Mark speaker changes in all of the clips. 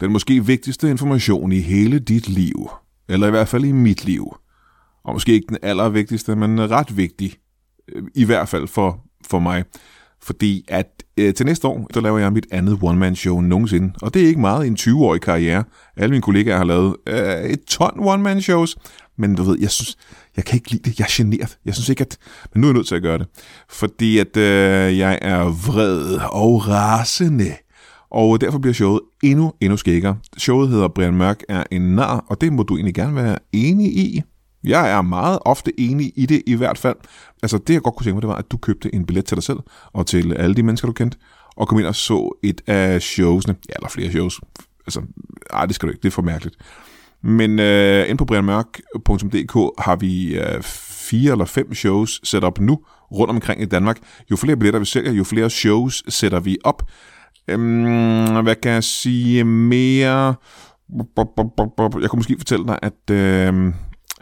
Speaker 1: Den måske vigtigste information i hele dit liv, eller i hvert fald i mit liv. Og måske ikke den allervigtigste, men ret vigtig, øh, i hvert fald for, for mig. Fordi at øh, til næste år, der laver jeg mit andet one-man-show nogensinde. Og det er ikke meget i en 20-årig karriere. Alle mine kollegaer har lavet øh, et ton one-man-shows. Men du ved, jeg synes, jeg kan ikke lide det. Jeg er generet. Jeg synes ikke, at... Men nu er jeg nødt til at gøre det. Fordi at øh, jeg er vred og rasende. Og derfor bliver showet endnu, endnu skækkere. Showet hedder Brian Mørk er en nar, og det må du egentlig gerne være enig i. Jeg er meget ofte enig i det i hvert fald. Altså det jeg godt kunne tænke mig, det var, at du købte en billet til dig selv og til alle de mennesker, du kendte, og kom ind og så et af showsene, ja, eller flere shows. Altså, ej, det skal du ikke, det er for mærkeligt. Men øh, inde på brianmørk.dk har vi øh, fire eller fem shows sat op nu rundt omkring i Danmark. Jo flere billetter vi sælger, jo flere shows sætter vi op. Øhm, hvad kan jeg sige mere? Jeg kunne måske fortælle dig, at... Øh,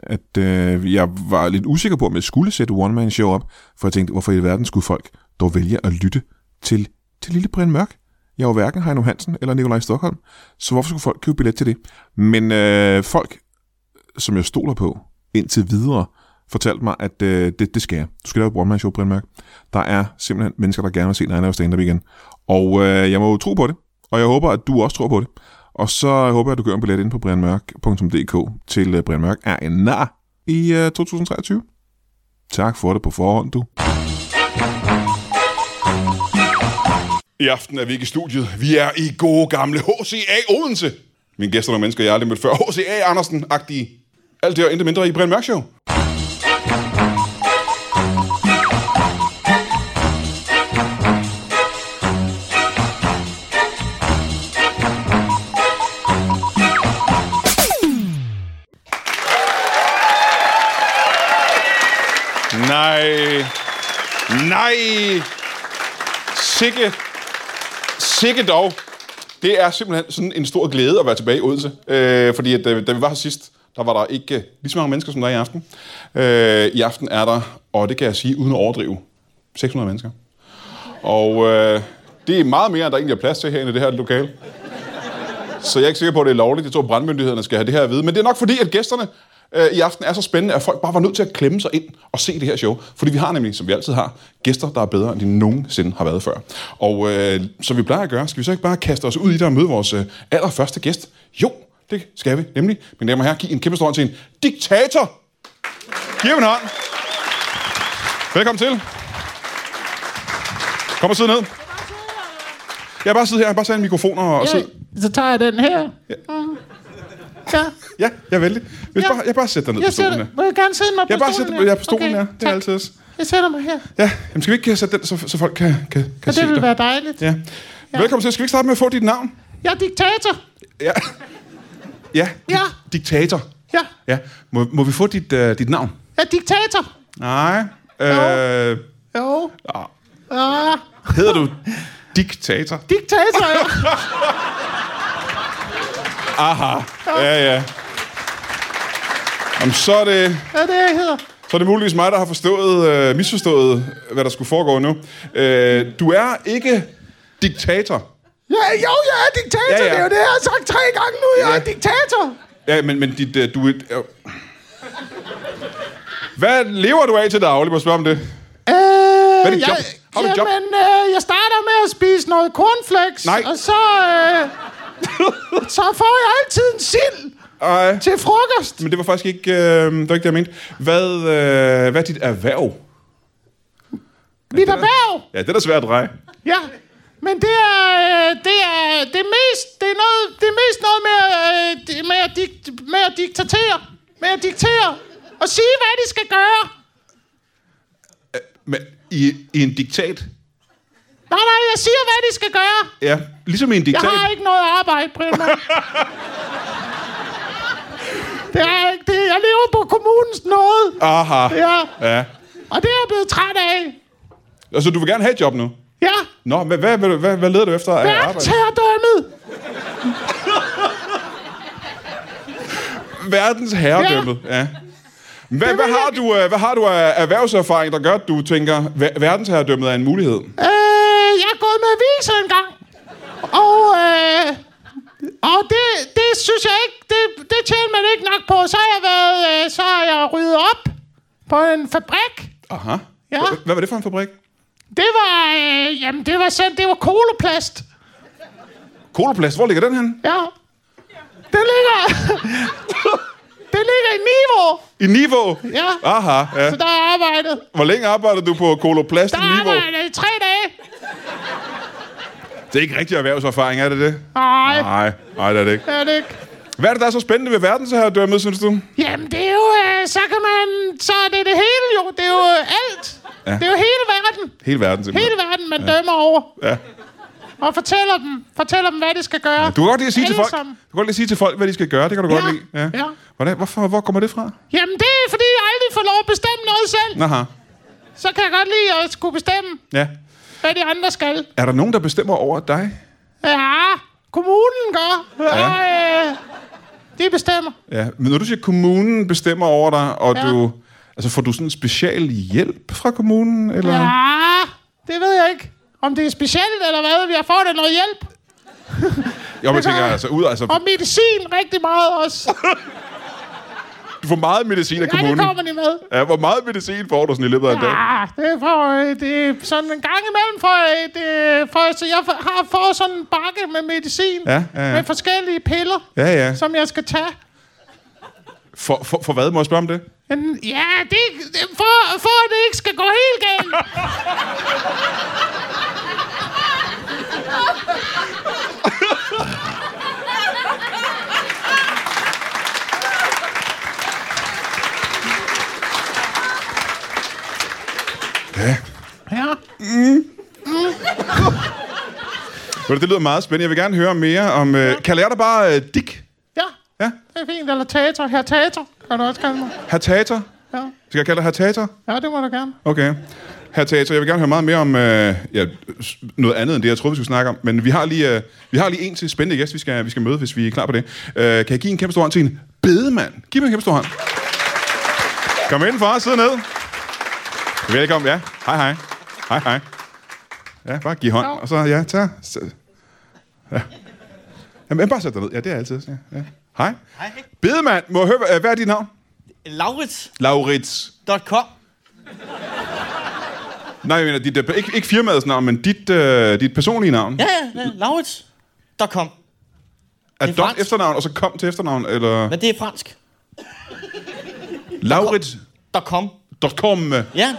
Speaker 1: at øh, jeg var lidt usikker på, om jeg skulle sætte One Man Show op, for jeg tænkte, hvorfor i verden skulle folk dog vælge at lytte til, til Lille Brian Mørk? Jeg var hverken Heino Hansen eller Nikolaj Stockholm, så hvorfor skulle folk købe billet til det? Men øh, folk, som jeg stoler på indtil videre, fortalte mig, at øh, det, det skal jeg. Du skal lave et One Man Show, Brian Mørk. Der er simpelthen mennesker, der gerne vil se dig lave stand-up igen. Og øh, jeg må jo tro på det, og jeg håber, at du også tror på det. Og så håber jeg, at du gør en billet ind på brianmørk.dk til øh, Brian Mørk er en nar i øh, 2023. Tak for det på forhånd, du. I aften er vi ikke i studiet. Vi er i gode gamle HCA Odense. Mine gæster er nogle mennesker, jeg aldrig mødt før. HCA Andersen-agtige. Alt det og intet mindre i Brian Mørk Show. Nej. Nej. Sikke. Sikke dog. Det er simpelthen sådan en stor glæde at være tilbage i Odense. Øh, fordi at, øh, da vi var her sidst, der var der ikke øh, lige så mange mennesker, som der er i aften. Øh, I aften er der, og det kan jeg sige uden at overdrive, 600 mennesker. Og øh, det er meget mere, end der egentlig er plads til herinde i det her lokale. Så jeg er ikke sikker på, at det er lovligt. Jeg tror, brandmyndighederne skal have det her at vide. Men det er nok fordi, at gæsterne øh, i aften er så spændende, at folk bare var nødt til at klemme sig ind og se det her show. Fordi vi har nemlig, som vi altid har, gæster, der er bedre, end de nogensinde har været før. Og øh, som vi plejer at gøre, skal vi så ikke bare kaste os ud i det og møde vores øh, allerførste gæst? Jo, det skal vi nemlig. Mine damer og herrer, giv en kæmpe stor hånd til en diktator! Giv ham en hånd! Velkommen til. Kom og sid ned. Jeg bare sidde her, bare tage en mikrofon og, og sidde.
Speaker 2: Ja, så tager jeg den her. Ja, ja.
Speaker 1: Ja, jeg vælger. Hvis
Speaker 2: Ja.
Speaker 1: Bare, jeg bare sætter dig ned på
Speaker 2: jeg
Speaker 1: stolen her.
Speaker 2: sætter, må jeg gerne sidde mig på
Speaker 1: Jeg bare
Speaker 2: stolen
Speaker 1: sætter mig ja, på stolen okay, her. Det er
Speaker 2: tak.
Speaker 1: altid os.
Speaker 2: Jeg sætter mig her,
Speaker 1: Ja, jamen skal vi ikke øh, sætte den, så, så folk kan, kan, kan
Speaker 2: og
Speaker 1: se
Speaker 2: det vil
Speaker 1: dig?
Speaker 2: være dejligt.
Speaker 1: Ja. ja. Velkommen til. Skal vi ikke starte med at få dit navn?
Speaker 2: Jeg er diktator.
Speaker 1: Ja. Ja.
Speaker 2: Ja.
Speaker 1: Di- Diktator.
Speaker 2: Ja,
Speaker 1: Ja. Må, må vi få dit, uh, dit navn?
Speaker 2: jeg er diktator.
Speaker 1: Nej. Øh,
Speaker 2: Jo. Ja. Ah,
Speaker 1: hedder du Diktator?
Speaker 2: Diktator, ja.
Speaker 1: Ja, ja. Jamen, så er det...
Speaker 2: ja det er jeg hedder.
Speaker 1: Så er det muligvis mig, der har forstået, øh, misforstået, hvad der skulle foregå nu. Øh, du er ikke diktator.
Speaker 2: Ja, jo, jeg er
Speaker 1: Ja, ja.
Speaker 2: diktator. Det er jo det, jeg har sagt tre gange nu. Jeg
Speaker 1: Ja.
Speaker 2: er diktator.
Speaker 1: Ja, men, men dit, øh, du... er- Øh. Hvad lever du af til daglig? Må jeg spørge om det?
Speaker 2: Øh,
Speaker 1: Hvad er dit
Speaker 2: jeg,
Speaker 1: job? Har du et job?
Speaker 2: Jamen, øh, jeg starter med at spise noget cornflakes.
Speaker 1: Nej.
Speaker 2: Og så, øh, så får jeg altid en sild
Speaker 1: Ej.
Speaker 2: til frokost.
Speaker 1: Men det var faktisk ikke, øh, det var ikke det, jeg mente. Hvad, øh, hvad er dit erhverv?
Speaker 2: Mit erhverv.
Speaker 1: Ja, det er da svært at dreje.
Speaker 2: Ja, men det er, øh, det er, det er mest, det er noget, det er mest noget med, øh, det- med, at dik, med at diktatere, med at diktere, og sige, hvad de skal gøre.
Speaker 1: Men i, i en diktat?
Speaker 2: Nej, nej, jeg siger, hvad de skal gøre.
Speaker 1: Ja, ligesom i en
Speaker 2: Jeg
Speaker 1: diktat.
Speaker 2: har ikke noget arbejde, Brian. Mørk. Det er ikke det. Jeg lever på kommunens nåde.
Speaker 1: Aha.
Speaker 2: Ja,
Speaker 1: Ja.
Speaker 2: og det er jeg blevet træt af.
Speaker 1: Altså, du vil gerne have et job nu?
Speaker 2: Ja,
Speaker 1: Nå, men hvad, hvad, hvad, hvad leder du efter af arbejde?
Speaker 2: værktagerdømmet.
Speaker 1: Verdens herredømme. Ja. ja. Hvad, hvad,
Speaker 2: vil
Speaker 1: har
Speaker 2: jeg-
Speaker 1: du, øh, hvad har du af erhvervserfaring, der gør, at du tænker, ver- verdensherredømmet er en mulighed?
Speaker 2: Øh, jeg er gået med aviser en gang. Og øh, Og det, det synes jeg ikke, det, det tjener man ikke nok på. Så har jeg været, øh, så har jeg ryddet op på en fabrik.
Speaker 3: Aha.
Speaker 2: Ja.
Speaker 3: Hva- Hvad var det for en fabrik?
Speaker 2: Det var, øh, jamen det var sådan, det var koloplast.
Speaker 3: Koloplast, hvor ligger den hen?
Speaker 2: Ja. Det ligger... det ligger i Nivo.
Speaker 3: I Niveau?
Speaker 2: Ja.
Speaker 3: Aha, ja.
Speaker 2: Så der er arbejdet.
Speaker 3: Hvor længe arbejder du på Koloplast
Speaker 2: Der
Speaker 3: i
Speaker 2: er
Speaker 3: Niveau?
Speaker 2: arbejdet i tre dage.
Speaker 3: Det er ikke rigtig erhvervserfaring, er det det?
Speaker 2: Nej,
Speaker 3: Nej, nej, det er det ikke.
Speaker 2: det er det ikke.
Speaker 3: Hvad er det, der er så spændende ved verdensherredømmet, synes du?
Speaker 2: Jamen, det er jo... Øh, så kan man... Så er det det hele jo. Det er jo øh, alt.
Speaker 3: Ja.
Speaker 2: Ja. Det er jo hele verden.
Speaker 3: Hele verden, simpelthen.
Speaker 2: Hele verden, man ja. dømmer over.
Speaker 3: Ja.
Speaker 2: Og fortæller dem, fortæller dem, hvad de skal gøre. Ja,
Speaker 3: Du kan godt lide at sige til folk,
Speaker 2: Allesammen.
Speaker 3: du kan godt lide at sige til folk, hvad de skal gøre. Det kan du godt
Speaker 2: Ja,
Speaker 3: lide.
Speaker 2: ja.
Speaker 3: Hvordan, hvorfor, hvor kommer det fra?
Speaker 2: Jamen, det er, fordi jeg aldrig får lov at bestemme noget selv.
Speaker 3: Aha.
Speaker 2: Så kan jeg godt lide at skulle bestemme,
Speaker 3: Ja.
Speaker 2: hvad de andre skal.
Speaker 3: Er der nogen, der bestemmer over dig?
Speaker 2: Ja, kommunen gør. Ja. Og, øh, de bestemmer.
Speaker 3: Ja. Men når du siger, kommunen bestemmer over dig, og
Speaker 2: Ja.
Speaker 3: du... Altså, får du sådan en special hjælp fra kommunen, eller?
Speaker 2: Ja, det ved jeg ikke. Om det er specielt eller hvad, jeg får da noget hjælp.
Speaker 3: Jo, men jeg tænker,
Speaker 2: gør jeg.
Speaker 3: altså, ud, altså,
Speaker 2: Og medicin rigtig meget også.
Speaker 3: du får meget medicin af
Speaker 2: Nej, det
Speaker 3: kommunen.
Speaker 2: kommer de med.
Speaker 3: Ja, hvor meget medicin får du sådan i løbet af en dag?
Speaker 2: Ja, Ah, det får øh, det er sådan en gang imellem for, øh, det, for så jeg får- har fået sådan en bakke med medicin
Speaker 3: Ja, ja, ja.
Speaker 2: med forskellige piller,
Speaker 3: Ja, ja.
Speaker 2: som jeg skal tage.
Speaker 3: For, for, for hvad? Må jeg spørge om det?
Speaker 2: Men, ja, det, det- for, for at det ikke skal gå helt galt.
Speaker 3: Ja.
Speaker 2: Ja.
Speaker 3: Ved du, Det lyder meget spændende. Jeg vil gerne høre mere om... Øh, kalder jeg dig bare øh, Dick?
Speaker 2: ja,
Speaker 3: Ja.
Speaker 2: det er fint. Eller teater. Her teater, kan du også kalde mig.
Speaker 3: Herr Tater?
Speaker 2: Ja.
Speaker 3: Skal jeg kalde dig Herr Tater?
Speaker 2: ja, det må du gerne.
Speaker 3: Okay. Herr Tater, jeg vil gerne høre meget mere om øh, ja, s- noget andet end det, jeg troede, vi skulle snakke om. Men vi har lige, øh, vi har lige en til spændende gæst, vi skal, vi skal møde, hvis vi er klar på det. Øh, kan jeg give en kæmpe stor hånd til en bedemand? Giv mig en kæmpe stor hånd. Kom ind for sidde ned. Velkommen, ja. Hej, hej. Hej, hej. Ja, bare giv hånd, og så, ja, tag. Så. Ja. Jamen, bare sæt dig ned. Ja, det er altid. Ja, ja. Hej.
Speaker 4: Hej.
Speaker 3: Bedemand, må jeg høre, hvad- hvad er dit navn?
Speaker 4: Laurits.com.
Speaker 3: Laurits. Nej, jeg mener, dit, øh, ikke, ikke firmaets navn, men dit, øh, dit personlige navn.
Speaker 4: Ja, ja, ja, Laurits.com.
Speaker 3: er
Speaker 4: det
Speaker 3: Dot
Speaker 4: er fransk.
Speaker 3: efternavn, og så kom til efternavn, eller...
Speaker 4: Men det er fransk.
Speaker 3: Laurits.com.
Speaker 4: .com. Ja,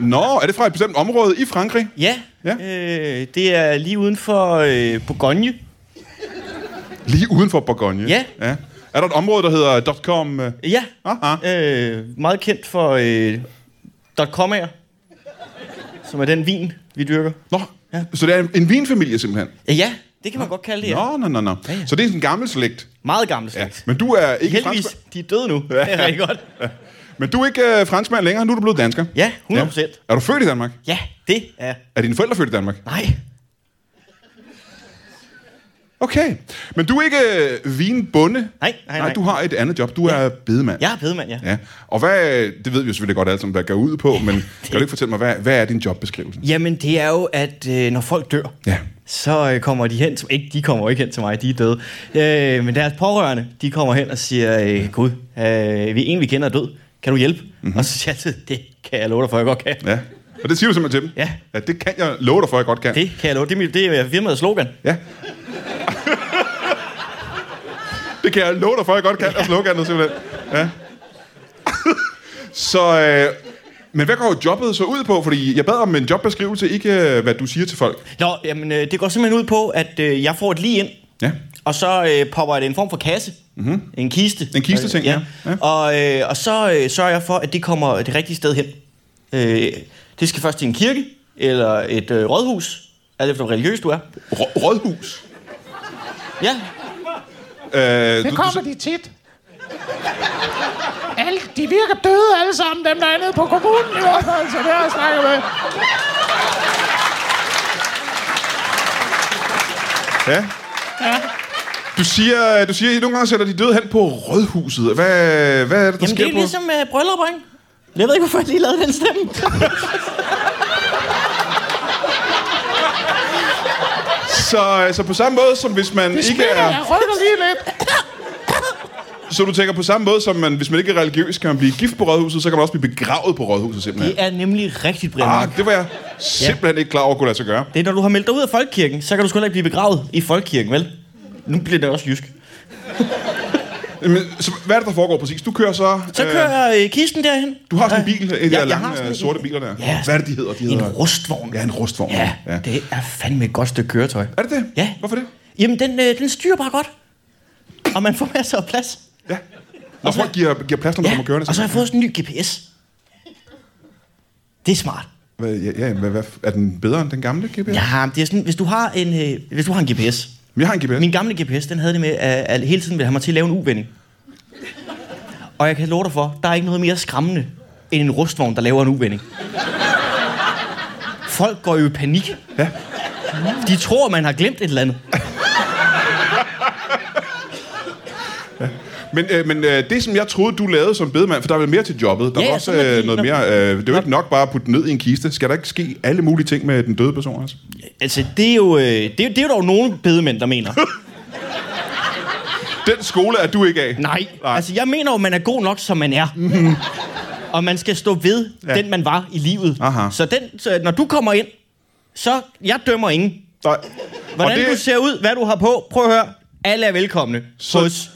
Speaker 3: Nå, er det fra et bestemt område i Frankrig?
Speaker 4: ja.
Speaker 3: Ja.
Speaker 4: Øh, det er lige uden for øh, Bourgogne.
Speaker 3: Lige uden for Bourgogne?
Speaker 4: Ja.
Speaker 3: ja. Er der et område, der hedder .com? øh?
Speaker 4: Ja,
Speaker 3: Aha.
Speaker 4: øh, meget kendt for øh, .com som er den vin, vi dyrker.
Speaker 3: Nå, ja. så det er en, en vinfamilie simpelthen?
Speaker 4: Ja, ja, det kan man godt kalde det, ja.
Speaker 3: Nå, nå, nå, nå.
Speaker 4: Ja, ja.
Speaker 3: Så det er en gammel slægt.
Speaker 4: Meget gammel
Speaker 3: Ja.
Speaker 4: slags.
Speaker 3: Men du er ikke
Speaker 4: Heldigvis,
Speaker 3: franskmand.
Speaker 4: de er døde nu. Ja. Det er rigtig godt.
Speaker 3: Men du er ikke øh, franskmand længere, nu er du blevet dansker.
Speaker 4: Ja, 100%. Ja.
Speaker 3: Er du født i Danmark?
Speaker 4: ja, det er...
Speaker 3: Er dine forældre født i Danmark?
Speaker 4: Nej,
Speaker 3: Okay. Men du er ikke øh, vinbonde? Nej,
Speaker 4: nej,
Speaker 3: nej.
Speaker 4: nej.
Speaker 3: du har et andet job. Du ja. er bedemand.
Speaker 4: jeg er bedemand, ja.
Speaker 3: Ja. Og hvad, det ved vi jo selvfølgelig godt alt, som hvad går ud på, men kan du ikke fortælle mig, hvad, hvad er din jobbeskrivelse?
Speaker 4: Jamen, det er jo, at øh, når folk dør,
Speaker 3: Ja.
Speaker 4: så øh, kommer de hen til ikke, de kommer jo ikke hen til mig, de er døde. Øh, men deres pårørende, de kommer hen og siger, øh, Gud, øh, vi en vi kender er død, kan du hjælpe?
Speaker 3: Mhm.
Speaker 4: Mm-hmm. Og så siger jeg altid, det kan jeg love dig for, jeg godt kan.
Speaker 3: Ja. Og det siger du simpelthen til dem?
Speaker 4: Ja.
Speaker 3: ja. det kan jeg love dig for, at jeg godt kan.
Speaker 4: Det kan jeg love, det er, mit, det er firmaets slogan.
Speaker 3: Ja. det kan jeg love dig for, at jeg godt kan. Og sloganet simpelthen. Ja. så, øh, men hvad går jobbet så ud på? Fordi jeg bad om en jobbeskrivelse, ikke øh, hvad du siger til folk.
Speaker 4: Nå, jamen, øh, det går simpelthen ud på, at øh, jeg får et lige ind,
Speaker 3: Ja.
Speaker 4: og så øh, popper det en form for kasse, mm-hmm. en kiste.
Speaker 3: Mhm. En kisteting, ja. Ja.
Speaker 4: Og, øh, og så øh, sørger jeg for, at det kommer det rigtige sted hen. Øh, det skal først til en kirke, eller et øh, rådhus, alt efter hvor religiøs du er.
Speaker 3: Rå- rådhus.
Speaker 4: Ja,
Speaker 3: Øh,
Speaker 2: Det kommer de tit. Alle, de virker døde alle sammen, dem der er nede på kommunen i hvert fald, så det har jeg snakket med.
Speaker 3: Ja. Du siger, du siger, at nogle gange sætter de døde hen på rådhuset. Hvad, hvad er det, der
Speaker 4: Jamen,
Speaker 3: sker
Speaker 4: det er
Speaker 3: på?
Speaker 4: ligesom øh, bryllup, ikke? Jeg ved ikke, hvorfor jeg lige lavede den stemme.
Speaker 3: Så, øh, så på samme måde, som hvis man ikke
Speaker 2: Smitter,
Speaker 3: er...
Speaker 2: jeg rykker lige lidt.
Speaker 3: Så du tænker på samme måde, som man, hvis man ikke er religiøs, kan man blive gift på rådhuset, så kan man også blive begravet på rådhuset simpelthen.
Speaker 4: Det er nemlig rigtigt, Brian. Mørk.
Speaker 3: Ah, det var jeg simpelthen ikke klar over, kunne lade sig gøre.
Speaker 4: Det er, når du har meldt dig ud af folkekirken, så kan du sgu heller ikke blive begravet i folkekirken, vel? Nu bliver det også jysk.
Speaker 3: Men, så, hvad er det, der foregår præcis? Du kører så...
Speaker 4: Så kører øh, kisten derhen.
Speaker 3: du har sådan en bil, en af de
Speaker 4: jeg
Speaker 3: der
Speaker 4: har
Speaker 3: lange
Speaker 4: sådan
Speaker 3: øh,
Speaker 4: en-
Speaker 3: sorte biler der.
Speaker 4: Ja,
Speaker 3: hvad er det, de hedder? De
Speaker 4: en
Speaker 3: hedder...
Speaker 4: rustvogn.
Speaker 3: Ja, en rustvogn.
Speaker 4: Ja, ja, det er fandme et godt stykke køretøj.
Speaker 3: Er det det?
Speaker 4: Ja.
Speaker 3: Hvorfor det?
Speaker 4: Jamen, den, øh, den styrer bare godt. Og man får masser af plads.
Speaker 3: Ja. Når folk giver, giver plads, når man kommer kørende.
Speaker 4: og så har jeg fået sådan en ny GPS. Det er smart.
Speaker 3: Hvad, ja, ja, hvad, hvad, er den bedre end den gamle GPS?
Speaker 4: Ja, det er sådan, hvis du har en, øh, hvis du har en GPS.
Speaker 3: Men Jeg har en GPS.
Speaker 4: Min gamle GPS, den havde det med, at, at hele tiden ville han mig til at lave en uvending. Og jeg kan love dig for, der er ikke noget mere skræmmende, end en rustvogn, der laver en uvending. Folk går jo i panik.
Speaker 3: Ja.
Speaker 4: De tror, man har glemt et eller andet.
Speaker 3: Men, øh, men øh, det, som jeg troede, du lavede som bedemand, for der er vel mere til jobbet. Der
Speaker 4: Ja,
Speaker 3: er
Speaker 4: ja,
Speaker 3: også
Speaker 4: sådan er
Speaker 3: øh,
Speaker 4: det.
Speaker 3: noget
Speaker 4: Nå.
Speaker 3: mere. Øh, det er jo ikke nok bare at putte den ned i en kiste. Skal der ikke ske alle mulige ting med den døde person også?
Speaker 4: Altså, det er jo, øh, det er, det er jo dog nogle bedemænd, der mener.
Speaker 3: Den skole er du ikke af.
Speaker 4: Nej. Nej. Altså, jeg mener jo, man er god nok, som man er. og man skal stå ved
Speaker 3: Ja.
Speaker 4: ja. den, man var i livet.
Speaker 3: Aha.
Speaker 4: Så, den, så når du kommer ind, så jeg dømmer ingen.
Speaker 3: Nej.
Speaker 4: Hvordan
Speaker 3: Og
Speaker 4: det...
Speaker 3: det-
Speaker 4: du ser ud, hvad du har på, prøv at høre. Alle er velkomne.
Speaker 3: Så-
Speaker 4: Så... Hos,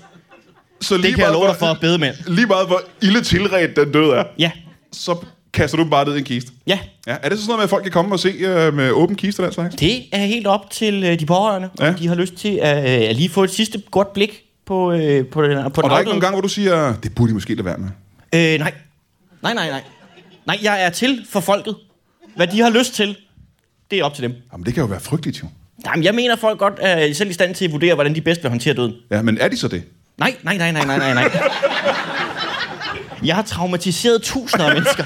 Speaker 3: Så lige
Speaker 4: det kan jeg
Speaker 3: meget,
Speaker 4: love dig for,
Speaker 3: hvor-
Speaker 4: bedemænd.
Speaker 3: Lige meget, hvor ilde tilret den døde er,
Speaker 4: Ja,
Speaker 3: så kaster du dem bare ned i en kiste.
Speaker 4: ja.
Speaker 3: Ja, er det så sådan noget med, at folk kan komme og se øh, med åben kiste og den slags?
Speaker 4: Det er helt op til øh, de pårørende,
Speaker 3: Ja.
Speaker 4: ja. om de har lyst til at, øh, at lige få et sidste godt blik på, øh, på den, på
Speaker 3: Og
Speaker 4: den
Speaker 3: der er ikke
Speaker 4: afdøde.
Speaker 3: nogen gang, hvor du siger, det burde de måske lade være med.
Speaker 4: Øh, nej. Nej, nej, nej. Nej, jeg er til for folket. Hvad de har lyst til, det er op til dem.
Speaker 3: Jamen, det kan jo være frygteligt, jo.
Speaker 4: Jamen, jeg mener, folk godt er selv i stand til at vurdere, hvordan de bedst vil håndtere døden.
Speaker 3: Ja, men er de så det?
Speaker 4: Nej, nej, nej, nej, nej, nej, nej. Jeg har traumatiseret tusinder af mennesker.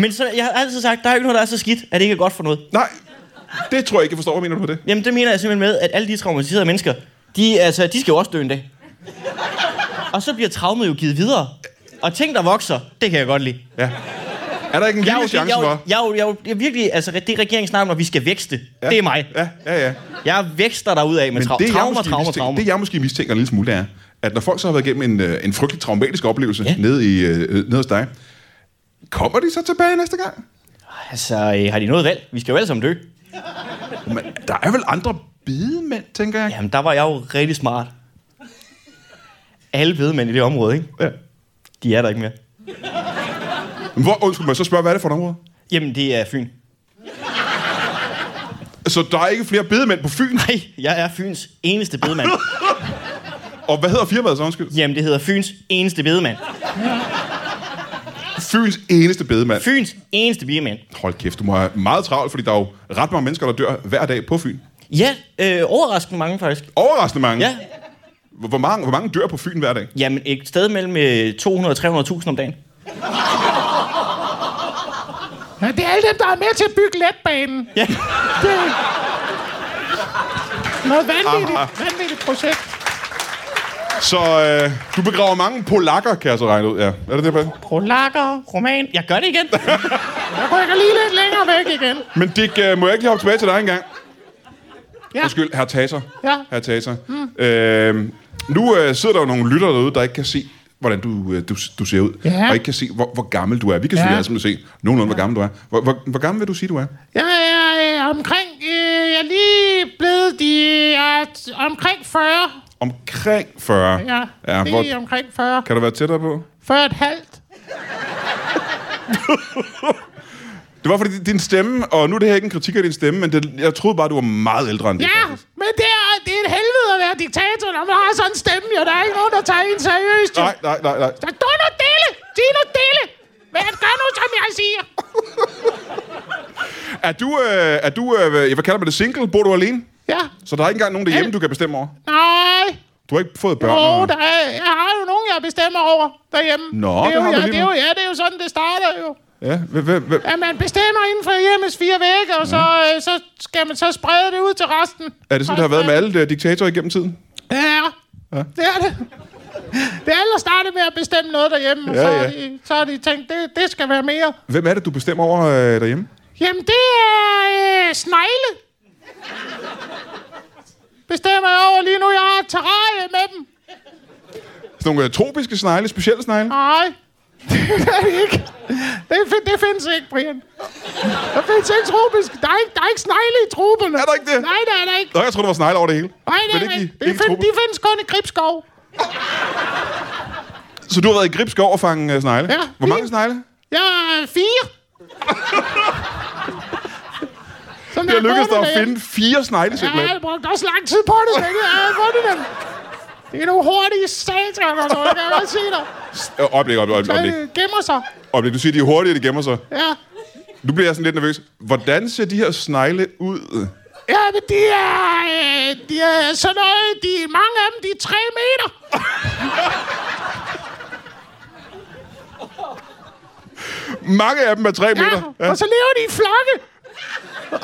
Speaker 4: Men så, jeg har altid sagt, der er ikke noget, der er så skidt, at det ikke er godt for noget.
Speaker 3: Nej, det tror jeg ikke, jeg forstår. Hvad mener du på det?
Speaker 4: Jamen, det mener jeg simpelthen med, at alle de traumatiserede mennesker, de, altså, de skal jo også dø en dag. Og så bliver traumet jo givet videre. Og ting, der vokser, det kan jeg godt lide.
Speaker 3: Er der ikke en
Speaker 4: Jeg er jo,
Speaker 3: lille
Speaker 4: jeg,
Speaker 3: chance
Speaker 4: er jo-
Speaker 3: for?
Speaker 4: jeg, er jo- jeg, er jo- jeg, er virkelig, altså det regeringen snakker om, når vi skal vækste, ja. det er mig.
Speaker 3: Ja, ja, ja.
Speaker 4: Jeg vækster dig ud af med
Speaker 3: Men
Speaker 4: tra-
Speaker 3: det, jeg
Speaker 4: traumer,
Speaker 3: måske
Speaker 4: traumer,
Speaker 3: mistænker,
Speaker 4: traumer.
Speaker 3: det, jeg måske mistænker en lille smule, det er, at når folk så har været igennem en, øh, en frygtelig traumatisk oplevelse ja.
Speaker 4: Ja.
Speaker 3: nede, i, øh, nede hos dig, kommer de så tilbage næste gang?
Speaker 4: Altså, øh, har de noget valg? Vi skal jo alle sammen dø.
Speaker 3: Men der er vel andre bidemænd, tænker jeg.
Speaker 4: Jamen, der var jeg jo rigtig smart. Alle bedemænd i det område, ikke?
Speaker 3: Ja.
Speaker 4: De er der ikke mere.
Speaker 3: Men Hvor, undskyld mig, så spørger, hvad er det for et område?
Speaker 4: Jamen, det er Fyn.
Speaker 3: Så der er ikke flere bedemænd på Fyn?
Speaker 4: Nej, jeg er Fyns eneste bedemand.
Speaker 3: Og hvad hedder firmaet så, undskyld?
Speaker 4: Jamen, det hedder Fyns eneste bedemand.
Speaker 3: Fyns eneste bedemand.
Speaker 4: Fyns eneste bedemand.
Speaker 3: Hold kæft, du må have meget travlt, fordi der er jo ret mange mennesker, der dør hver dag på Fyn.
Speaker 4: Ja, øh, overraskende mange faktisk.
Speaker 3: Overraskende mange.
Speaker 4: Ja,
Speaker 3: Hvor, hvor mange. Hvor mange dør på Fyn hver dag?
Speaker 4: jamen et sted mellem øh, 200 og 300.000 om dagen.
Speaker 2: Ja, det er alle dem, der er med til at bygge letbanen.
Speaker 4: Ja.
Speaker 2: Det er noget vanvittigt, vanvittigt projekt.
Speaker 3: Så øh, du begraver mange polakker, kan jeg så regne ud. Ja. Er det det, Ben?
Speaker 2: Polakker, roman.
Speaker 4: Jeg gør det igen.
Speaker 2: Jeg rykker lige lidt længere væk igen.
Speaker 3: Men Dick, øh, må jeg ikke lige hoppe tilbage til dig engang?
Speaker 2: Ja.
Speaker 3: Undskyld, herr Taser.
Speaker 2: Ja.
Speaker 3: Herr Taser. Mm. Øh, nu øh, sidder der jo nogle lyttere derude, der ikke kan se, hvordan du, øh, du, du ser ud.
Speaker 2: Ja.
Speaker 3: Og ikke kan se, hvor, hvor gammel du er. Vi kan selvfølgelig
Speaker 2: Ja.
Speaker 3: alle sammen se nogenlunde, hvor gammel du er. Hvor, hvor, hvor gammel vil du sige, du er?
Speaker 2: Jeg er øh, omkring... Øh, jeg er lige blevet de... Jeg er t- omkring 40.
Speaker 3: Omkring 40.
Speaker 2: Ja,
Speaker 3: ja
Speaker 2: lige
Speaker 3: hvor,
Speaker 2: omkring 40.
Speaker 3: kan du være tættere på?
Speaker 2: 40 et halvt.
Speaker 3: Det var fordi din stemme, og nu er det her ikke en kritik af din stemme, men det, jeg troede bare, du var meget ældre end det.
Speaker 2: Ja,
Speaker 3: faktisk.
Speaker 2: men det er, det er et helvede at være diktator, når man har sådan en stemme, jo. Der er ikke nogen, der tager en seriøst, jo.
Speaker 3: Nej, nej, nej, nej.
Speaker 2: Så du nu dele! Sig nu dele! Men gør nu, som jeg siger.
Speaker 3: Er du, øh, er du øh, hvad kalder man det, single? Bor du alene?
Speaker 2: Ja,
Speaker 3: Så der er ikke engang nogen derhjemme, du kan bestemme over?
Speaker 2: nej.
Speaker 3: Du har ikke fået børn?
Speaker 2: Åh,
Speaker 3: og-
Speaker 2: oh, der er, jeg har jo nogen, jeg bestemmer over derhjemme.
Speaker 3: Nå,
Speaker 2: det er
Speaker 3: det
Speaker 2: jo,
Speaker 3: har du
Speaker 2: ja,
Speaker 3: lige
Speaker 2: det er jo,
Speaker 3: nu.
Speaker 2: ja, det er jo sådan, det starter jo.
Speaker 3: Ja, hvad, hvad, hvad?
Speaker 2: At man bestemmer inden for hjemmes fire vægge, og så, øh, så skal man så sprede det ud til resten.
Speaker 3: Er det sådan, det har været med alle øh, diktatorer igennem tiden?
Speaker 2: Ja, det er det. Det er alle, der starter med at bestemme noget derhjemme, og
Speaker 3: Ja,
Speaker 2: så,
Speaker 3: ja.
Speaker 2: Har de, så har de tænkt, det, det skal være mere.
Speaker 3: Hvem er det, du bestemmer over øh, derhjemme?
Speaker 2: Jamen, det er øh, snegle. Bestemmer jeg over lige nu, jeg har et terrarie med dem.
Speaker 3: Sådan nogle øh, tropiske snegle, specielle snegle.
Speaker 2: Nej, det er det ikke. Det, fin- det findes ikke, Brian. Der findes ikke tropisk. Der er ikke, der er ikke snegle i troberne.
Speaker 3: Er der ikke det?
Speaker 2: Nej, der er der ikke.
Speaker 3: Nå, jeg tror der var snegle over det hele.
Speaker 2: Nej, det
Speaker 3: Men
Speaker 2: er
Speaker 3: ikke,
Speaker 2: ikke.
Speaker 3: i-
Speaker 2: Det
Speaker 3: ikke i
Speaker 2: find,
Speaker 3: truppen.
Speaker 2: de findes kun i Gribskov.
Speaker 3: Så du har været i Gribskov og fange øh, snegle?
Speaker 2: Ja,
Speaker 3: Hvor mange
Speaker 2: fint.
Speaker 3: snegle?
Speaker 2: Jeg er fire. Som
Speaker 3: Det
Speaker 2: jeg
Speaker 3: er lykkedes dig
Speaker 2: fundet
Speaker 3: at
Speaker 2: dem.
Speaker 3: finde fire snegle
Speaker 2: Ja,
Speaker 3: simpelthen.
Speaker 2: jeg brugte også lang tid på det, men jeg havde fundet dem. Det er nogle hurtige sataner, så jeg kan jeg godt se dig.
Speaker 3: Øh, Øjeblik, øjeblik, øjeblik,
Speaker 2: Der
Speaker 3: øjeblik.
Speaker 2: øh, gemmer sig.
Speaker 3: Øjeblik, du siger, de er hurtige, de gemmer sig.
Speaker 2: Ja.
Speaker 3: Nu bliver jeg sådan lidt nervøs. Hvordan ser de her snegle ud?
Speaker 2: Ja, men de er, øh, de er sådan noget, de, mange af dem, de er tre meter.
Speaker 3: Mange af dem er 3 ja, meter.
Speaker 2: Ja, og så lever de i flokke.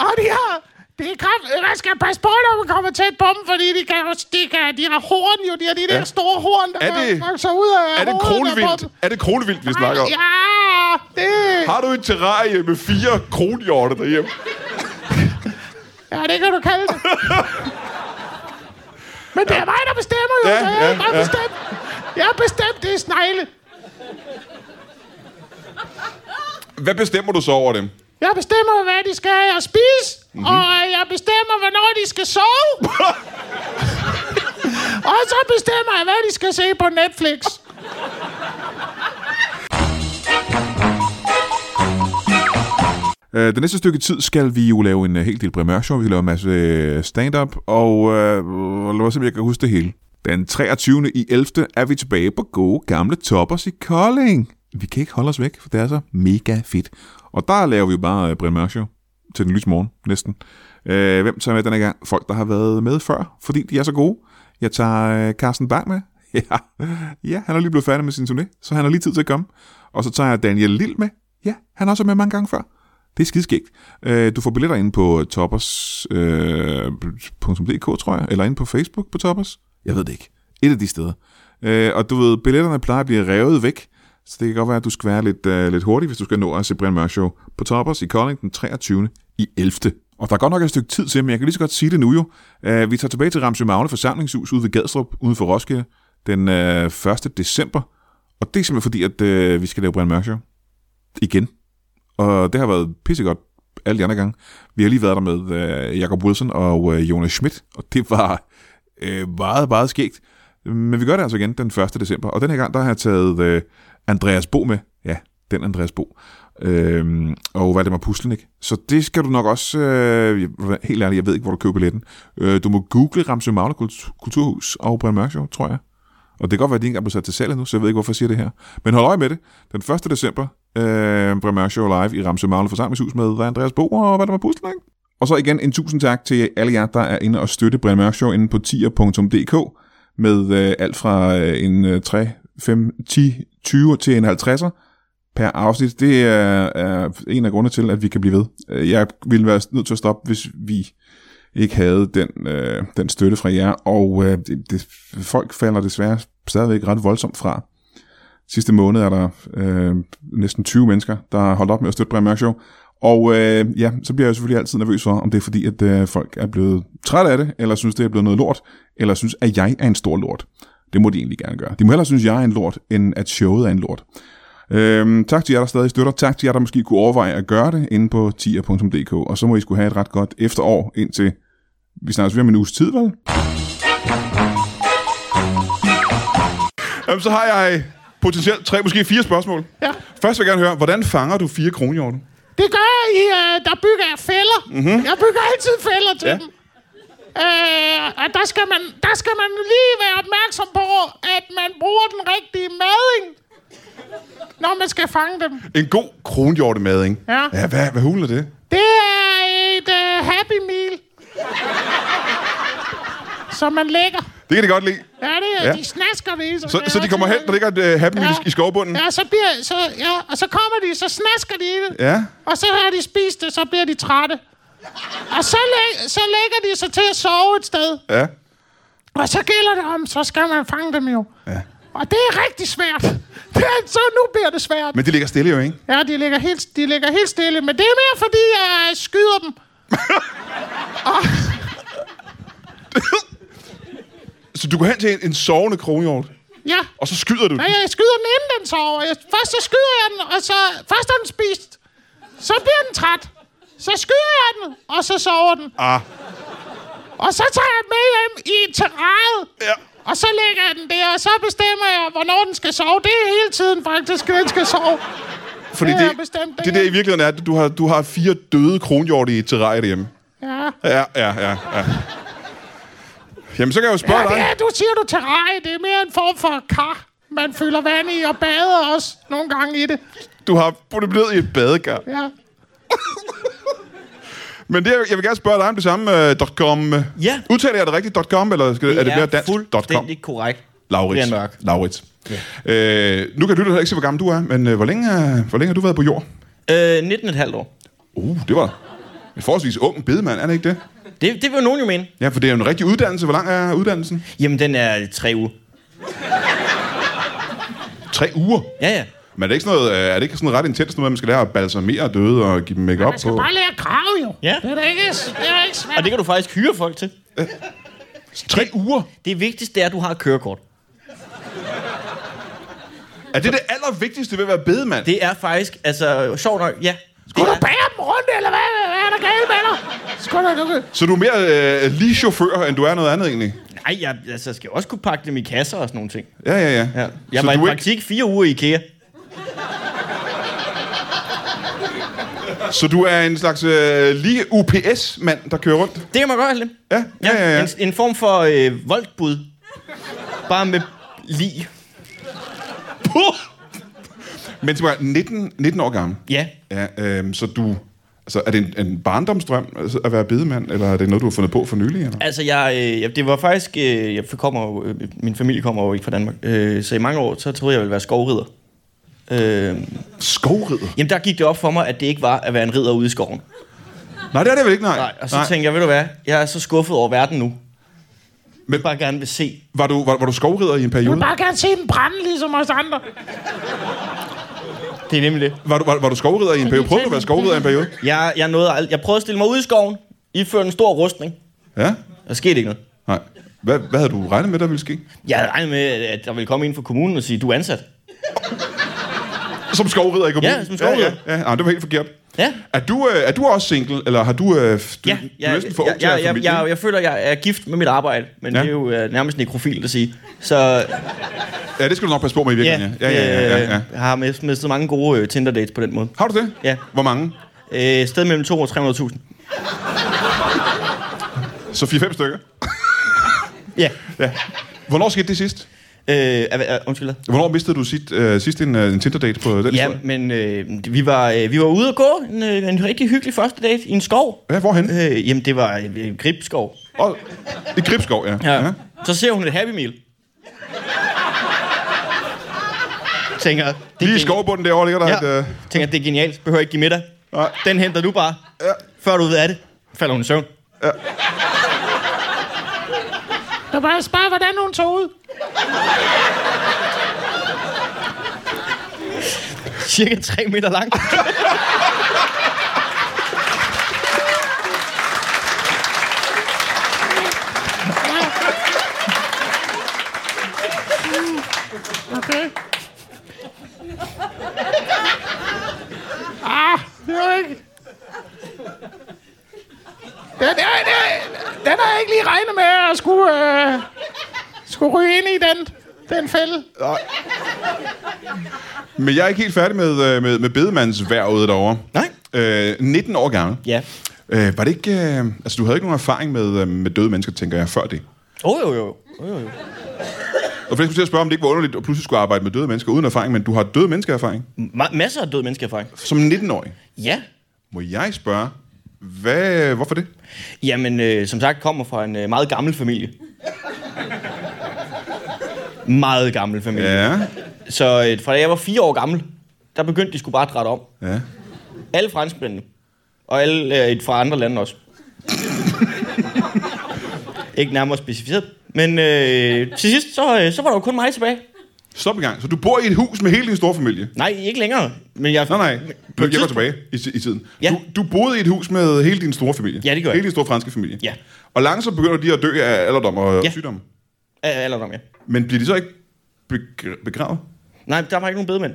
Speaker 2: Og de har... Det er kraft, øh, man skal passe på, når man kommer tæt på dem, fordi de, kan, jo- de, kan, de har horn jo, de har de der
Speaker 3: Ja.
Speaker 2: store horn, der
Speaker 3: Er det-
Speaker 2: kan vokse ud af
Speaker 3: Er det
Speaker 2: hovedet der på dem.
Speaker 3: kronvildt? Er det kronvildt, vi snakker om?
Speaker 2: Ja, det,
Speaker 3: Har du et terrarie med fire kronhjorte derhjemme?
Speaker 2: ja, det kan du kalde det. Men det er mig, der bestemmer jo.
Speaker 3: Ja,
Speaker 2: så
Speaker 3: ja,
Speaker 2: jeg, har
Speaker 3: ja.
Speaker 2: bestemt, jeg har bestemt, det er snegle.
Speaker 3: Hvad bestemmer du så over dem?
Speaker 2: Jeg bestemmer, hvad de skal have at spise, mm-hmm. og jeg bestemmer, hvornår de skal sove. og så bestemmer jeg, hvad de skal se på Netflix.
Speaker 1: Øh, det næste stykke tid skal vi jo lave en øh, hel del primærshow. Vi skal lave en masse øh, stand-up, og øh, lad mig se, om jeg kan huske det hele. Den 23. i 11. er vi tilbage på gode gamle toppers i Kolding. Vi kan ikke holde os væk, for det er så mega fedt. Og der laver vi jo bare øh, Brian Mørk Show til den lyse morgen, næsten. Øh, hvem tager med denne gang? Folk, der har været med før, fordi de er så gode. Jeg tager øh, Carsten Bang med. Ja. ja, han er lige blevet færdig med sin turné, så han har lige tid til at komme. Og så tager jeg Daniel Lille med. Ja, han har også været med mange gange før. Det er skidskægt. Øh, Du får billetter inde på toppers.dk, øh, .dk, tror jeg, eller inde på Facebook på Toppers. Jeg ved det ikke. Et af de steder. Øh, Og du ved, billetterne plejer at blive revet væk, så det kan godt være, at du skal være lidt, øh, lidt hurtig, hvis du skal nå at se Brian Mørk Show på Toppers i Kolding den 23. i 11. Og der er godt nok et stykke tid til, men jeg kan lige så godt sige det nu jo. Øh, Vi tager tilbage til Ramsø Magle forsamlingshus ude ved Gadstrup, uden for Roskilde, den øh, 1. december. Og det er simpelthen fordi, at øh, vi skal lave Brian Mørk Show. Igen. Og det har været pissegodt alle de andre gange. Vi har lige været der med øh, Jacob Wilson og øh, Jonas Schmidt, og det var øh, meget, meget skægt. Men vi gør det altså igen den 1. december, og den her gang, der har jeg taget øh, Andreas Bo med. Ja, den Andreas Bo. Øhm, og Valdemar Puslenik. Så det skal du nok også... Øh, jeg- helt ærligt, jeg ved ikke, hvor du køber billetten. Øh, du må google Ramsø Magle Kultur- Kulturhus og Brian Mørk Show, tror jeg. Og det kan godt være, at de ikke engang blev sat til salg endnu, så jeg ved ikke, hvorfor jeg siger det her. Men hold øje med det. Den 1. december, øh, Brian Mørk Show live i Ramse Magle forsamlingshus med Andreas Bo og hvad der var puslet, ikke? Og så igen en tusind tak til alle jer, der er inde og støtte Brian Mørk Show inde på tier.dk med øh, alt fra øh, en øh, 3, 5, 10, 20 til en 50'er per afsnit. Det er, er en af grundene til, at vi kan blive ved. Øh, Jeg ville være nødt til at stoppe, hvis vi ikke havde den, øh, den støtte fra jer, og øh, det, det, folk falder desværre stadigvæk ret voldsomt fra. Sidste måned er der øh, næsten 20 mennesker, der har holdt op med at støtte Brian Mørk Show, og øh, ja, så bliver jeg selvfølgelig altid nervøs for, om det er fordi, at øh, folk er blevet trætte af det, eller synes, det er blevet noget lort, eller synes, at jeg er en stor lort. Det må de egentlig gerne gøre. De må hellere synes, at jeg er en lort, end at showet er en lort. Øhm, tak til jer, der stadig støtter. Tak til jer, der måske kunne overveje at gøre det inde på tier.dk. Og så må I skulle have et ret godt efterår indtil... Vi snakkes ved om en uges tid, vel?
Speaker 3: Jamen, så har jeg potentielt tre, måske fire spørgsmål.
Speaker 2: Ja.
Speaker 3: Først vil jeg gerne høre, hvordan fanger du fire kronhjorte?
Speaker 2: Det gør jeg i, øh, der bygger jeg fælder. Mm-hmm. Jeg bygger altid fælder til
Speaker 3: Ja.
Speaker 2: ja. dem. Øh, og der skal, man, der skal man lige være opmærksom på, at man bruger den rigtige mading, når man skal fange dem.
Speaker 3: En god kronhjortemad, ikke?
Speaker 2: Ja.
Speaker 3: Ja, hvad, hvad hulen er det?
Speaker 2: Det er et øh, Happy Meal. Som man lægger.
Speaker 3: Det kan de godt lide.
Speaker 2: Ja, det er,
Speaker 3: Ja.
Speaker 2: ja. de snasker det i.
Speaker 3: Så,
Speaker 2: kan jeg
Speaker 3: så de
Speaker 2: også
Speaker 3: kommer hen,
Speaker 2: lide.
Speaker 3: der ligger et
Speaker 1: øh,
Speaker 3: uh, happy ja. i skovbunden.
Speaker 2: Ja, så bliver, så, ja, og så kommer de, så snasker de i det.
Speaker 3: Ja.
Speaker 2: Og så har de spist det, så bliver de trætte. Og så, læ- så lægger de sig til at sove et sted.
Speaker 3: Ja.
Speaker 2: Og så gælder det om, så skal man fange dem jo. Ja. Og det er rigtig svært. Det er, så nu bliver det svært.
Speaker 3: Men de ligger stille jo, ikke?
Speaker 2: Ja, de ligger, helt, de ligger helt stille. Men det er mere, fordi jeg skyder dem. og,
Speaker 3: Så du går hen til en, en sovende kronhjort,
Speaker 2: Ja.
Speaker 3: og så skyder du den.
Speaker 2: Nej, jeg skyder den inden den sover. Jeg, først så skyder jeg den, og så... Først har den spist. Så bliver den træt. Så skyder jeg den, og så sover den.
Speaker 3: Ah.
Speaker 2: Og så tager jeg den med hjem i en terrariet.
Speaker 3: Ja.
Speaker 2: Og så lægger jeg den der, og så bestemmer jeg, hvornår den skal sove. Det er hele tiden faktisk, at den skal sove.
Speaker 3: Fordi
Speaker 2: Det
Speaker 3: det,
Speaker 2: har jeg
Speaker 3: det,
Speaker 2: bestemt, det
Speaker 3: det
Speaker 2: her.
Speaker 3: der i virkeligheden er, at du har, du har fire døde kronhjorte i et terrarie derhjemme.
Speaker 2: Ja.
Speaker 3: Ja, ja, ja, ja. Jamen, så kan jeg jo spørge
Speaker 2: Ja, det
Speaker 3: dig.
Speaker 2: er, du siger du terrarie. Det er mere en form for kar. Man fylder vand i og bader også nogle gange i det.
Speaker 3: Du har puttet ned i et badekar.
Speaker 2: Ja.
Speaker 3: Men det, jeg vil gerne spørge dig om det samme uh, .com.
Speaker 4: Ja.
Speaker 3: Udtaler jeg det rigtigt .com, eller skal, det er, det mere dansk .com?
Speaker 4: fuldstændig korrekt.
Speaker 3: Laurits.
Speaker 4: Brian Mørk.
Speaker 3: Laurits. Øh, nu kan du heller ikke se, hvor gammel du er, men øh, hvor, længe, øh, hvor længe har du været på jord?
Speaker 4: Øh, 19,5 år.
Speaker 3: Uh, det var en forholdsvis ung bedemand, er det ikke det?
Speaker 4: Det, det vil jo nogen jo mene.
Speaker 3: Ja, for det er jo en rigtig uddannelse. Hvor lang er uddannelsen?
Speaker 4: Jamen, den er tre uger.
Speaker 3: Tre uger.
Speaker 4: Ja, ja.
Speaker 3: Men er det ikke sådan, noget, øh, er det ikke sådan ret intenst, noget, at man skal lære at balsamere døde og give dem make-up
Speaker 2: Man skal
Speaker 3: på?
Speaker 2: bare lære at grave, jo.
Speaker 4: Ja.
Speaker 2: Det er da ikke, det er da ikke svært.
Speaker 4: Og det kan du faktisk hyre folk til.
Speaker 3: Tre uger?
Speaker 4: Det vigtigste er, at du har et kørekort.
Speaker 3: Er det det allervigtigste ved at være bedemand? Det...
Speaker 4: Det er faktisk, altså, sjovt nok, ja.
Speaker 2: Skulle du bære dem rundt, eller hvad? Hvad er der galt med dig? Skulle du... du-
Speaker 3: Så du er mere øh, lige chauffør, end du er noget andet egentlig?
Speaker 4: Nej, jeg altså, skal også kunne pakke dem i kasser og sådan nogle ting.
Speaker 3: Ja, ja, ja.
Speaker 4: Ja. Jeg
Speaker 3: så
Speaker 4: var i
Speaker 3: du er
Speaker 4: praktik fire uger i IKEA.
Speaker 3: ikke, så du er en slags øh, lige UPS-mand, der kører rundt?
Speaker 4: Det kan man godt have lidt.
Speaker 3: Ja, ja, ja. ja, ja.
Speaker 4: En, en form for øh, voldtbud. Bare med lig.
Speaker 3: Men til 19, 19 år gammel.
Speaker 4: Ja.
Speaker 3: Ja, øhm, så du... Altså, er det en, en barndomsdrøm altså, at være bedemand, eller er det noget, du har fundet på for nylig? Eller?
Speaker 4: Altså, jeg, øh, jeg- det var faktisk... Øh, jeg kommer jo, øh, min familie kommer jo ikke fra Danmark. Øh, så i mange år, så troede jeg, jeg ville være skovrider. Øh,
Speaker 3: Skovrider?
Speaker 4: jamen, der gik det op for mig, at det ikke var at være en ridder ude i skoven.
Speaker 3: Nej, det er det vel ikke, nej.
Speaker 4: Nej, og så nej. tænkte jeg, ved du hvad, jeg er så skuffet over verden nu. Men
Speaker 3: Men-
Speaker 4: bare gerne vil se.
Speaker 3: Var du, var, var du skovrider i en
Speaker 2: Du
Speaker 3: periode?
Speaker 2: vil bare gerne se den brænde, ligesom os andre.
Speaker 4: Det er nemlig det.
Speaker 3: Var du, var, var du skovrider i en periode? Prøvede du at være skovrider i en periode?
Speaker 4: Jeg, jeg, nåede ald- jeg prøvede at stille mig ud i skoven, iføre en stor rustning.
Speaker 3: Ja?
Speaker 4: Der skete ikke noget.
Speaker 3: Nej. Hvad, hvad havde du regnet med, der ville ske?
Speaker 4: Jeg havde regnet med, at der ville komme ind fra kommunen og sige, du er ansat.
Speaker 3: Som skovrider i kommunen?
Speaker 4: Ja, som skovrider.
Speaker 3: Ja, ja, ja. Nej, det var helt forkert.
Speaker 4: Ja.
Speaker 3: Er du, øh, er du også single, eller har du... Øh, f- du,
Speaker 4: Ja,
Speaker 3: du er
Speaker 4: jeg,
Speaker 3: næsten for ung
Speaker 4: jeg,
Speaker 3: til at
Speaker 4: jeg,
Speaker 3: have
Speaker 4: jeg,
Speaker 3: familie.
Speaker 4: jeg, jeg føler, jeg er gift med mit arbejde, men
Speaker 3: Ja.
Speaker 4: ja. det er jo øh, nærmest nekrofilt at sige. Så
Speaker 3: Ja, det skal du nok passe på med i
Speaker 4: Ja,
Speaker 3: virkeligheden. Ja, ja, ja. ja, ja, ja.
Speaker 4: Jeg har mis- mistet mange gode øh, Tinder-dates på den måde.
Speaker 3: Har du det?
Speaker 4: Ja.
Speaker 3: Hvor mange?
Speaker 4: Øh, sted mellem 2 og 300.000.
Speaker 3: Så 4-5 stykker?
Speaker 4: Ja.
Speaker 3: Ja. Hvornår skete det sidst?
Speaker 4: Øh, er- er- undskyld. hvad?
Speaker 3: Hvornår mistede du sit, øh, sidst en, øh, en Tinder-date på den
Speaker 4: Ja,
Speaker 3: historie?
Speaker 4: men øh, vi, var, øh, vi var ude at gå en, øh, en rigtig hyggelig første date i en skov.
Speaker 3: Ja, hvorhen?
Speaker 4: Øh, jamen, det var øh, en gribskov.
Speaker 3: Og, I Gribskov, ja.
Speaker 4: Ja. ja. Så ser hun et Happy Meal. Tænker, det er
Speaker 3: Lige i
Speaker 4: geni-
Speaker 3: skovbunden derovre ligger der ja. et...
Speaker 4: Ja.
Speaker 3: Øh,
Speaker 4: Tænker, det er genialt. Behøver ikke give middag.
Speaker 3: Nej.
Speaker 4: Den henter du bare.
Speaker 3: Ja.
Speaker 4: Før du ved af det, falder hun i søvn.
Speaker 2: Du bare spørge, hvordan hun tog ud.
Speaker 4: Cirka 3 meter lang.
Speaker 2: Okay. Ah, det var ikke... Den, den, den, den har jeg ikke lige regnet med, at jeg skulle, øh, skulle ryge ind i den, den fælde.
Speaker 3: men jeg er ikke helt færdig med, øh, med, med bedemandsværvet derovre.
Speaker 4: Nej.
Speaker 3: Øh, 19 år gammel.
Speaker 4: Ja.
Speaker 3: Øh, var det ikke... Øh, altså, du havde ikke nogen erfaring med, øh, med døde mennesker, tænker jeg, før det.
Speaker 4: Oh, jo, jo. Oh, jo, jo.
Speaker 3: Og for jeg skulle til at spørge, om det ikke var underligt at pludselig skulle arbejde med døde mennesker uden erfaring, men du har døde menneskeerfaring
Speaker 4: Ma- masser af døde menneskeerfaring.
Speaker 3: som 19-årig.
Speaker 4: Ja.
Speaker 3: Må jeg spørge, hvad, hvorfor det?
Speaker 4: Jamen, øh, som sagt, kommer fra en øh, meget gammel familie. meget gammel familie. Ja.
Speaker 3: Ja,
Speaker 4: Så øh, fra da jeg var fire år gammel, der begyndte de skulle bare at rette om.
Speaker 3: ja.
Speaker 4: Alle franskmændene. Og alle øh, fra andre lande også. Ikke nærmere specificeret. Men øh, til sidst, så, øh, så var der jo kun mig tilbage.
Speaker 3: Stop i gang. Så du bor i et hus med hele din store familie?
Speaker 4: Nej, ikke længere. Men jeg,
Speaker 3: Nej, nej.
Speaker 4: På
Speaker 3: Du,
Speaker 4: et
Speaker 3: jeg går
Speaker 4: tidspunkt-
Speaker 3: tilbage i, ti- i tiden.
Speaker 4: Ja.
Speaker 3: Du, du boede i et hus med hele din store familie?
Speaker 4: Ja, det gjorde jeg.
Speaker 3: Hele din store franske familie?
Speaker 4: Ja.
Speaker 3: Og langsomt begynder de at dø af alderdom og
Speaker 4: Ja.
Speaker 3: ja. sygdom.
Speaker 4: Ja, alderdom, ja.
Speaker 3: Men bliver de så ikke begr- begravet?
Speaker 4: Nej, der var ikke nogen bedemænd.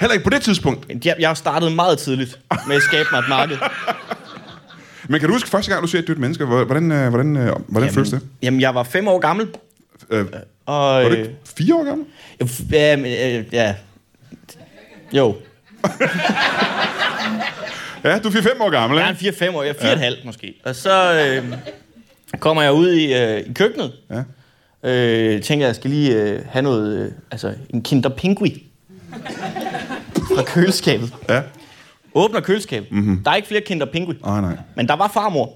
Speaker 3: Heller ikke på det tidspunkt.
Speaker 4: Jeg, jeg startede meget tidligt med at skabe mig et marked.
Speaker 3: Men kan du huske første gang, du ser et dødt menneske? Hvor- Hvordan, øh, hvordan, øh, hvordan føles det?
Speaker 4: Jamen, jeg var fem år gammel.
Speaker 3: Øh,
Speaker 4: Og,
Speaker 3: var du ikke fire år gammel?
Speaker 4: Øh, f- ja, men, øh, ja. Jo.
Speaker 3: Ja, du er fire-fem år gammel,
Speaker 4: Jeg
Speaker 3: ikke?
Speaker 4: er en 4-5 år, jeg er 4,5 ja. halv måske. Og så øh, kommer jeg ud i, øh, i køkkenet.
Speaker 3: Ja.
Speaker 4: Øh, tænker, jeg skal lige øh, have noget, øh, altså en Kinder Pingui fra køleskabet.
Speaker 3: Ja.
Speaker 4: Åbner køleskabet. Mm-hmm. Der er ikke flere Kinder Pingui.
Speaker 3: Åh, nej.
Speaker 4: Men der var farmor.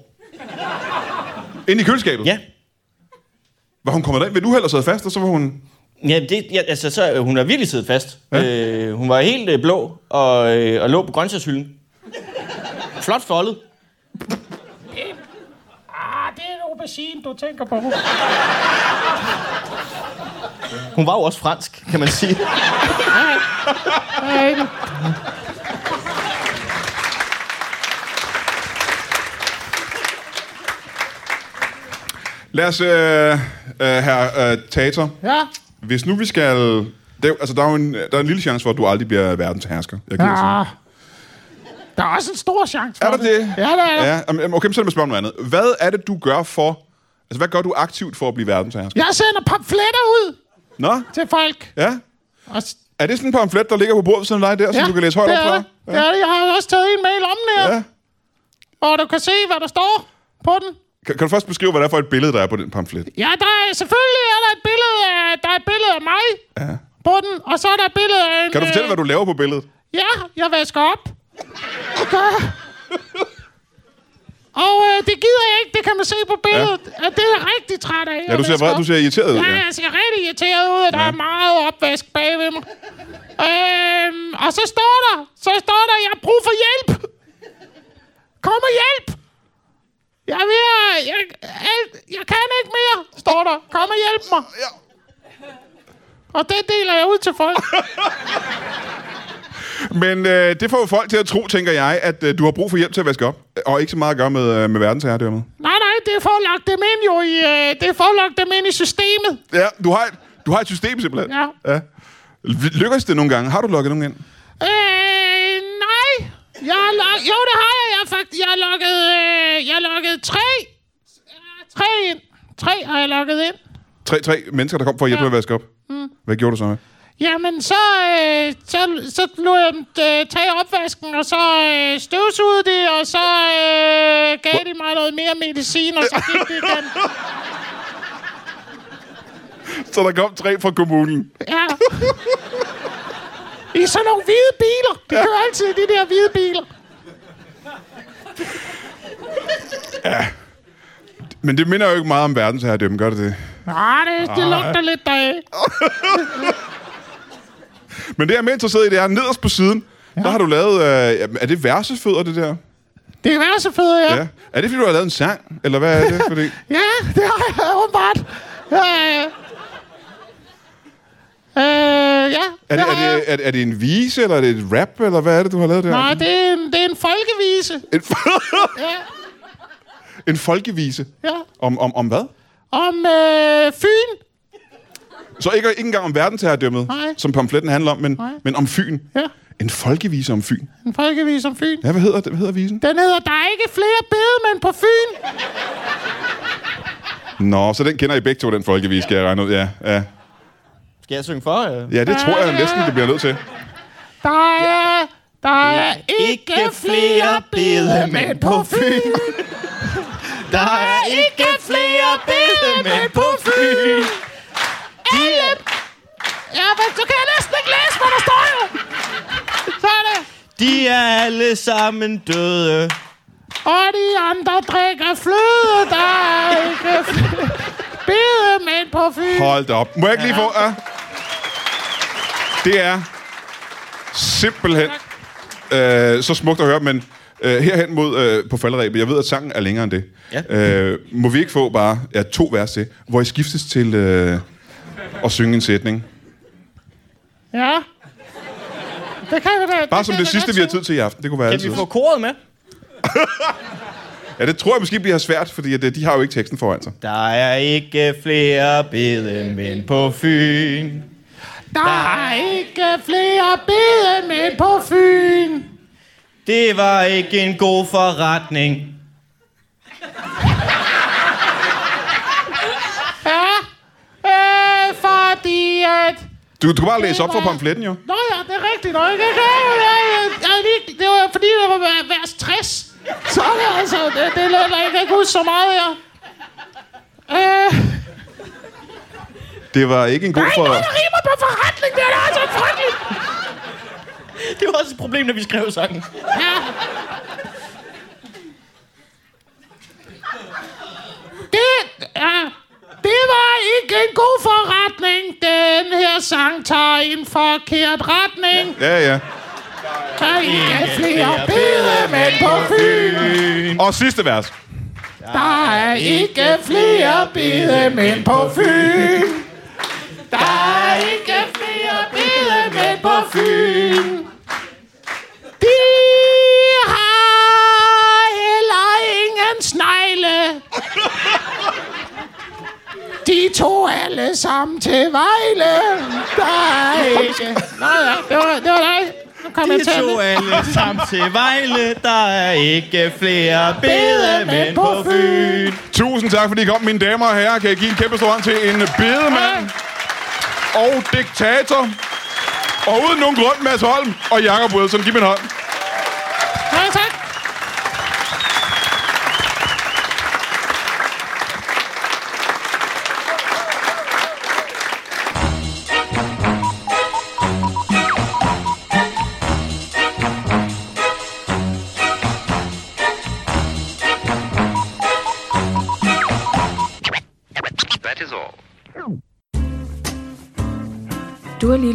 Speaker 3: Inde i køleskabet?
Speaker 4: Ja.
Speaker 3: Var hun kommet derind ved et uheld og sad fast, og så var hun...
Speaker 4: Ja, det, ja altså, så, øh, hun har virkelig siddet fast.
Speaker 3: Ja.
Speaker 4: Ja. Øh, hun var helt øh, blå og, øh, og lå på grøntsagshylden. Flot foldet.
Speaker 2: Ah, det er en aubergine, du tænker på.
Speaker 4: Hun var jo også fransk, kan man sige.
Speaker 2: Nej,
Speaker 3: Lad os, øh, øh, herre øh, Tater,
Speaker 2: ja.
Speaker 3: hvis nu vi skal... Det, er jo- altså, der er jo en, der er en lille chance for, at du aldrig bliver verdens hersker. Jeg gider sige.
Speaker 2: ja. Ah. Der er også en stor chance for
Speaker 3: Er der det?
Speaker 2: Ja, der er ja.
Speaker 3: Ja, jamen, okay, men så lad mig spørge om noget andet. Hvad er det, du gør for... Altså, hvad gør du aktivt for at blive verdenshersker?
Speaker 2: Jeg sender pamfletter ud
Speaker 3: Nå,
Speaker 2: til folk.
Speaker 3: ja.
Speaker 2: Og s-
Speaker 3: Er det sådan en pamflet, der ligger på bordet ved siden af dig der, som du kan læse højt
Speaker 2: det
Speaker 3: op
Speaker 2: er
Speaker 3: fra?
Speaker 2: det. Ja. det er det. Jeg har jo også taget en med i lommen her,
Speaker 3: Ja.
Speaker 2: og du kan se, hvad der står på den.
Speaker 3: Kan, kan du først beskrive, hvad det er for et billede, der er på den pamflet?
Speaker 2: Ja, der er selvfølgelig er der et billede af, der er et billede af mig
Speaker 3: Ja.
Speaker 2: på den, og så er der et billede af en...
Speaker 3: Kan du fortælle, hvad du laver på billedet?
Speaker 2: Øh, Ja, jeg vasker op. Det gør jeg. Og øh, det gider jeg ikke, det kan man se på billedet, ja. at det er jeg rigtig træt af.
Speaker 3: Ja, du ser vred, du ser irriteret ud.
Speaker 2: Ja,
Speaker 3: Ja.
Speaker 2: jeg ser rigtig irriteret ud, og der er meget opvask bag ved mig. Øhm, og så står der, så står der, jeg har brug for hjælp. Kom og hjælp. Jeg er ved at, jeg, jeg, jeg kan ikke mere, står der. Kom og hjælp mig.
Speaker 3: Ja.
Speaker 2: Og det deler jeg ud til folk.
Speaker 3: Men øh, det får jo folk til at tro, tænker jeg, at øh, du har brug for hjælp til at vaske op. Og ikke så meget at gøre med, øh, med verdensherredømmet.
Speaker 2: Nej, nej, det er for at lokke dem ind jo i, øh, det er for at lokke dem ind i systemet.
Speaker 3: Ja, du har et, du har et system simpelthen.
Speaker 2: Ja.
Speaker 3: ja. Lykkes det nogle gange? Har du lukket nogen ind?
Speaker 2: Øh, nej. Jeg har lok- jo, det har jeg. Jeg har, fakt- jeg har lukket, øh, jeg har lukket tre. Øh, Tre ind. Tre har jeg lukket ind.
Speaker 3: Tre, tre mennesker, der kom for at hjælpe med at vaske op. Mm. Hvad gjorde du så med?
Speaker 2: Jamen, så, øh, så, så lod jeg dem øh, tage opvasken, og så øh, støvsugede de, og så øh, gav de mig noget mere medicin, og så gik de igen.
Speaker 3: Så der kom tre fra kommunen.
Speaker 2: Ja. I sådan nogle hvide biler. De kører altid i de der hvide biler.
Speaker 3: Men det minder jo ikke meget om verdensherredømme, gør det det?
Speaker 2: Nej, det, det lugter lidt deraf.
Speaker 3: Men det, jeg er mere interesseret i, det er nederst på siden, ja. der har du lavet... Øh, er det versefødder, det der?
Speaker 2: Det kan være så fedt, ja.
Speaker 3: Ja. Er det, fordi du har lavet en sang? Eller hvad er det? Fordi...
Speaker 2: Ja, det har jeg åbenbart. Øh, øh, ja,
Speaker 3: Er det,
Speaker 2: har
Speaker 3: er,
Speaker 2: jeg.
Speaker 3: det, er, det, er det en vise, eller er det et rap, eller hvad er det, du har lavet der?
Speaker 2: Nej, det er, en, det er en folkevise.
Speaker 3: En, fol-
Speaker 2: Ja,
Speaker 3: en folkevise?
Speaker 2: ja.
Speaker 3: Om, om, om hvad?
Speaker 2: Om øh, Fyn.
Speaker 3: Så ikke, ikke engang om verdensherredømmet,
Speaker 2: Nej.
Speaker 3: som pamfletten handler om, men,
Speaker 2: Nej.
Speaker 3: men om Fyn.
Speaker 2: Ja,
Speaker 3: En folkevise om Fyn.
Speaker 2: en folkevise om Fyn.
Speaker 3: Ja, hvad hedder, det? hvad hedder visen?
Speaker 2: Den hedder, der er ikke flere bedemænd på Fyn.
Speaker 3: Nå, så den kender I begge to, den folkevise, skal jeg regne ud. Ja, ja.
Speaker 4: Skal jeg synge for? Øh?
Speaker 3: ja det tror jeg næsten, det bliver nødt til.
Speaker 2: Der er, der er ikke flere bedemænd på Fyn.
Speaker 4: Der er ikke flere bedemænd på Fyn.
Speaker 2: Alle... Ja, men så kan jeg næsten ikke læse, hvad der står jo. Så er det.
Speaker 4: De er alle sammen døde.
Speaker 2: Og de andre drikker fløde, der er ikke flere bedemænd på Fyn.
Speaker 3: Hold da op. Må jeg ikke lige få... Ja. Det er simpelthen øh, så smukt at høre, men øh, herhen mod øh, på falderæbet, jeg ved, at sangen er længere end det.
Speaker 4: Ja.
Speaker 3: Øh, må vi ikke få bare ja, to vers til, hvor I skiftes til... Øh, og synge en sætning.
Speaker 2: Ja. Det kan jeg da.
Speaker 3: Bare som
Speaker 2: kan
Speaker 3: det
Speaker 2: jeg da
Speaker 3: sidste,
Speaker 2: godt
Speaker 3: vi har
Speaker 2: se.
Speaker 3: tid til i aften. Det kunne være
Speaker 4: Kan
Speaker 3: altid.
Speaker 4: vi få koret med?
Speaker 3: Ja, det tror jeg måske bliver svært, fordi at, øh, de har jo ikke teksten foran sig.
Speaker 4: Der er ikke flere bedemænd på Fyn.
Speaker 2: Der er ikke flere bedemænd på Fyn.
Speaker 4: Det var ikke en god forretning.
Speaker 2: Ja. Øh, fordi at...
Speaker 3: Du, du kan bare læse op
Speaker 2: var-
Speaker 3: fra pamfletten, jo.
Speaker 2: Nå ja, det er rigtigt nok. Jeg kan, jeg, jeg, jeg, lige, det var fordi, det var hver- vers 60. Så er det altså, det, det er lidt- jeg kan ikke huske så meget her. Øh,
Speaker 3: Det var ikke en god
Speaker 2: nej,
Speaker 3: for...
Speaker 2: noget, der rimer på forretning, det er da altså frygteligt.
Speaker 4: Det var også et problem, når vi skrev sangen.
Speaker 2: Ja. Det, ja, det var ikke en god forretning. Den her sang tager i en forkert retning.
Speaker 3: Ja, ja.
Speaker 2: Der er ikke flere bedemænd på Fyn.
Speaker 3: Og sidste vers.
Speaker 2: Der er ikke flere bedemænd på Fyn. Der er ikke flere bedemænd på Fyn. De har heller ingen snegle. De tog alle sammen til Vejle. Der er ikke... Nå ja, det var, det var dig. Nu kom jeg
Speaker 4: Vi
Speaker 2: til at-
Speaker 4: tog alle sammen til Vejle. Der er ikke flere bedemænd på Fyn.
Speaker 3: Tusind tak, fordi I kom, mine damer og herrer. Kan jeg give en kæmpe stor hånd til en bedemand og diktator. Og uden nogen grund, Mads Holm og Jakob Wilson. Giv mig en hånd.
Speaker 2: Nej, tak.
Speaker 5: That is all.
Speaker 6: Du har lige